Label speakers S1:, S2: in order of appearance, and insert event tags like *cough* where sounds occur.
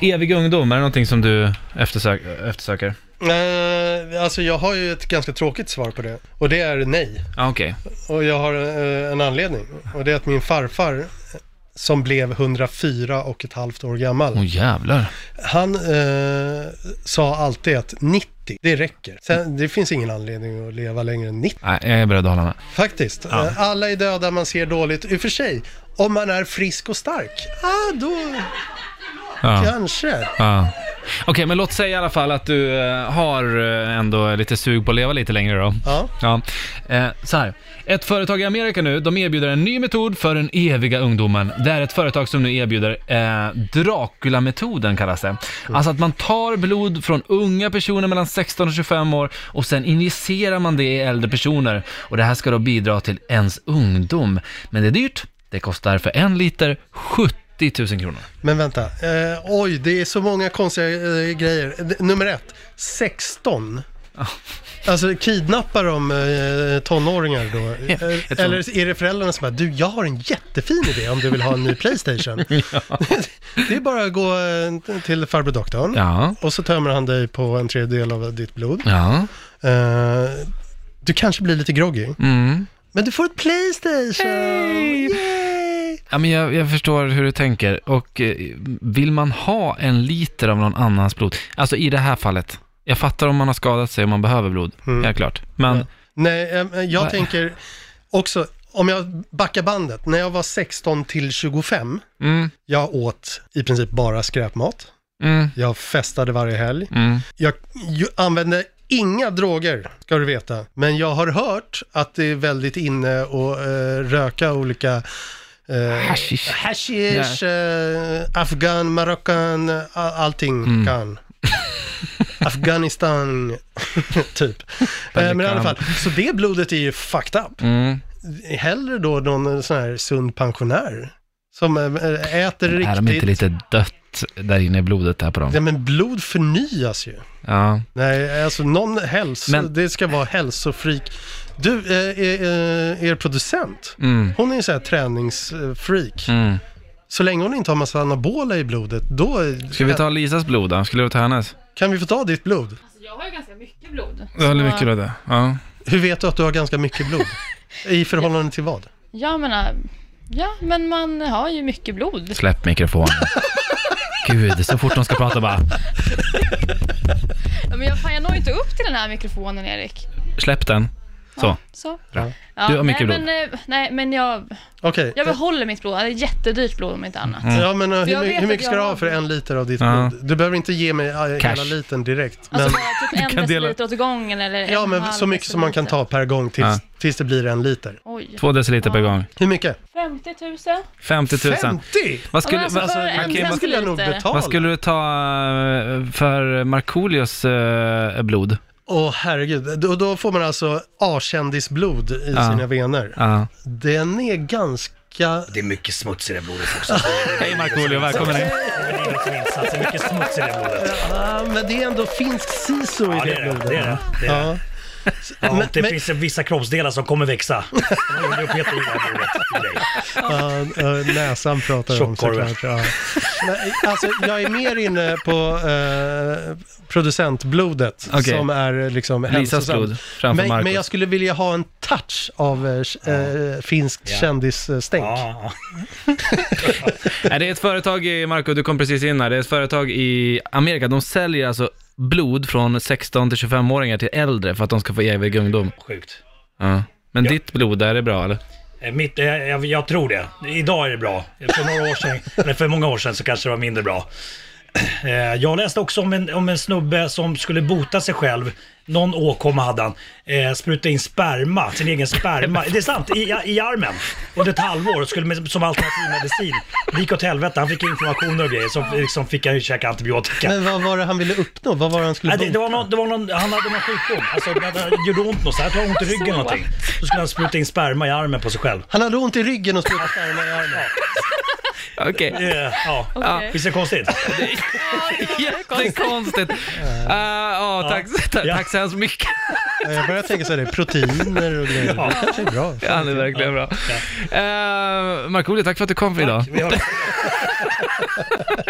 S1: Evig ungdom, är det någonting som du eftersök, eftersöker?
S2: Eh, alltså jag har ju ett ganska tråkigt svar på det. Och det är nej.
S1: Ja, okej.
S2: Och jag har eh, en anledning. Och det är att min farfar, som blev 104 och ett halvt år gammal,
S1: Åh jävlar.
S2: han eh, sa alltid att 90, det räcker. Sen, det finns ingen anledning att leva längre än 90.
S1: Nej, jag är beredd att hålla med.
S2: Faktiskt. Eh, Alla är döda, man ser dåligt. I och för sig, om man är frisk och stark, ah, då
S1: Ja.
S2: kanske.
S1: Ja. Okej, men låt säga i alla fall att du eh, har eh, ändå lite sug på att leva lite längre då.
S2: Ja.
S1: Ja, eh, så här. Ett företag i Amerika nu, de erbjuder en ny metod för den eviga ungdomen. Det är ett företag som nu erbjuder eh, Dracula-metoden kallas det. Alltså att man tar blod från unga personer mellan 16 och 25 år och sen injicerar man det i äldre personer. Och det här ska då bidra till ens ungdom. Men det är dyrt. Det kostar för en liter 70 000 kronor.
S2: Men vänta, eh, oj, det är så många konstiga eh, grejer. D- nummer ett, 16. Alltså kidnappar de eh, tonåringar då?
S1: *laughs* Jag
S2: Eh,
S1: tror-
S2: Eller är det föräldrarna som bara, du jag har en jättefin idé om du vill ha
S1: *laughs*
S2: en ny Playstation. *laughs* det är bara att gå eh, till farbror doktorn
S1: Ja.
S2: och så tömmer han dig på en tredjedel av ditt blod.
S1: Ja.
S2: Eh, du kanske blir lite groggy,
S1: Mm.
S2: men du får ett Playstation!
S1: Hey!
S2: Yay!
S1: Ja, men jag, jag förstår hur du tänker. Och eh, vill man ha en liter av någon annans blod, alltså i det här fallet, jag fattar om man har skadat sig och man behöver blod,
S2: Mm.
S1: helt klart. Men,
S2: Ja. Nej, eh, eh, jag
S1: Nej.
S2: tänker också, om jag backar bandet, när jag var 16 till 25,
S1: mm,
S2: jag åt i princip bara skräpmat.
S1: mm,
S2: Jag festade varje helg.
S1: mm.
S2: Jag ju- använde inga droger, ska du veta. Men jag har hört att det är väldigt inne att eh, röka olika eh,
S1: Hashish.
S2: hashish, eh, afghan, marockan, a- allting
S1: Mm. *laughs*
S2: kan. Afghanistan, *laughs* typ. Eh, men i alla fall, så det blodet är ju fucked up.
S1: Mm.
S2: Hellre då någon sån här sund pensionär som eh, äter
S1: Är de inte
S2: riktigt.
S1: lite dött där inne i blodet där på dem?
S2: Ja, men blod förnyas ju.
S1: Ja.
S2: Nej, alltså någon hälso...
S1: Men-
S2: Det ska vara hälsofreak. Du, eh, eh, eh, er producent,
S1: Mm.
S2: hon är ju så här träningsfreak.
S1: Mm.
S2: Så länge hon inte har massa anabola i blodet, då...
S1: Ska vi ta Lisas blod då? Skulle du ta hennes?
S2: Kan vi få ta ditt blod?
S3: Alltså, jag har ju ganska mycket blod.
S1: Ja,
S3: Så-
S1: av det. Ja.
S2: Hur vet du att du har ganska mycket blod? I förhållande till vad?
S3: Jag menar, äh, ja men man har ju mycket blod.
S1: Släpp
S2: *laughs*
S1: mikrofonen. Gud, så fort de ska prata bara,
S3: Ja, men jag, fan, jag når ju inte upp till den här mikrofonen Erik.
S1: släpp den. Så.
S3: Så.
S1: Bra.
S3: Ja,
S1: Du har mycket
S3: nej,
S1: blod.
S3: Men, eh, nej men jag,
S2: Okej.
S3: jag behåller mitt blod. Det är jättedyrt blod om inte annat.
S2: Ja, men eh, hur,
S3: jag
S2: my-
S3: vet
S2: hur
S3: att
S2: mycket ska
S3: jag
S2: du
S3: har
S2: ha för en liter av ditt
S1: Ja.
S2: blod? Du behöver inte ge mig eh, hela
S1: Cash.
S2: litern direkt. Men,
S3: Alltså bara
S2: *laughs*
S3: typ en
S1: kan dela-
S3: deciliter åt gången eller
S2: ja,
S3: en och en
S2: men
S3: halv
S2: så mycket som man kan
S3: deciliter.
S2: ta per gång tills,
S1: Ja.
S2: tills det blir en liter.
S3: Oj.
S1: Två deciliter per gång.
S2: Hur mycket?
S3: 50 000?
S1: 50 000.
S2: 50!
S1: Vad skulle,
S3: Ja, men
S1: vad-
S2: Alltså,
S3: För en
S2: det
S3: deciliter.
S2: skulle jag nog betala.
S1: Vad skulle du ta eh, för Markoolios eh, blod?
S2: Åh herregud, då, då får man alltså A-kändisblod i
S1: Ja.
S2: sina vener.
S1: Ja.
S2: Den är ganska...
S4: Det är mycket smuts i det blodet också.
S1: Hej Markoolio, välkommen hit.
S5: Det är liksom insatser, mycket smuts i det blodet.
S2: Ja, men det är ändå finsk sisu i
S5: Ja, det
S2: det
S5: är det.
S2: blodet.
S5: Det, är det. det, är det.
S2: Ja.
S5: Ja,
S2: Men-
S5: det
S2: men-
S5: finns vissa kroppsdelar som kommer *laughs* växa. De gjorde ju Peter i det här blodet till dig.
S2: Ja, eh, näsan pratar jag om
S5: Tjockkorven.
S2: såklart. Ja. Nej, Alltså, jag är mer inne på eh, producentblodet
S1: Okej.
S2: som är liksom
S1: Lisas
S2: hälsosamt.
S1: blod framför
S2: Men, men jag
S1: Marcos.
S2: skulle vilja ha en touch av eh, eh, finskt kändisstänk.
S5: Ja,
S1: Nej, Det är ett företag, i, Marco, du kom precis in här. Det är ett företag i Amerika. De säljer alltså blod från 16 till 25-åringar till äldre för att de ska få evig ungdom.
S5: sjukt.
S1: Ja. Men ditt blod, är det bra eller?
S5: Eh, Mitt, eh, jag, jag tror det. Idag är det bra. För några år
S2: *laughs*
S5: sedan, eller för många år sedan så kanske det var mindre bra. Eh, Jag läste också om en, om en snubbe som skulle bota sig själv. Någon åkomma hade han. Eh, spruta in sperma, sin egen sperma. Det är sant, i, i armen. Under ett halvår och skulle med, som alternativmedicin. Det gick åt helvete, han fick informationer och grejer. Så liksom fick han ju käka antibiotika.
S2: Men vad var det han ville uppnå? Vad var det han skulle
S5: Nej, det, det,
S2: bota?
S5: var någon, det var någon, han hade någon sjukdom. Alltså, det hade- gjorde ont någonstans. Han hade ont i ryggen eller någonting. Då skulle han spruta in sperma i armen på sig själv.
S2: Han hade ont i ryggen
S5: *laughs*
S2: och sprutade sperma i armen.
S1: Okej.
S5: Eh, ja.
S3: Okej.
S5: Visst är det konstigt?
S1: *laughs* Jättekonstigt. Ah, ja, tack, tack,
S5: Ja.
S1: tack så hemskt mycket.
S2: Ja, Eh, Jag börjar tänka så här, det är proteiner och grejer.
S5: Ja.
S2: Det kanske är bra.
S1: Ja, det är verkligen Eh, bra. Uh, Markoolio, tack för att du kom för idag.
S5: Vi har,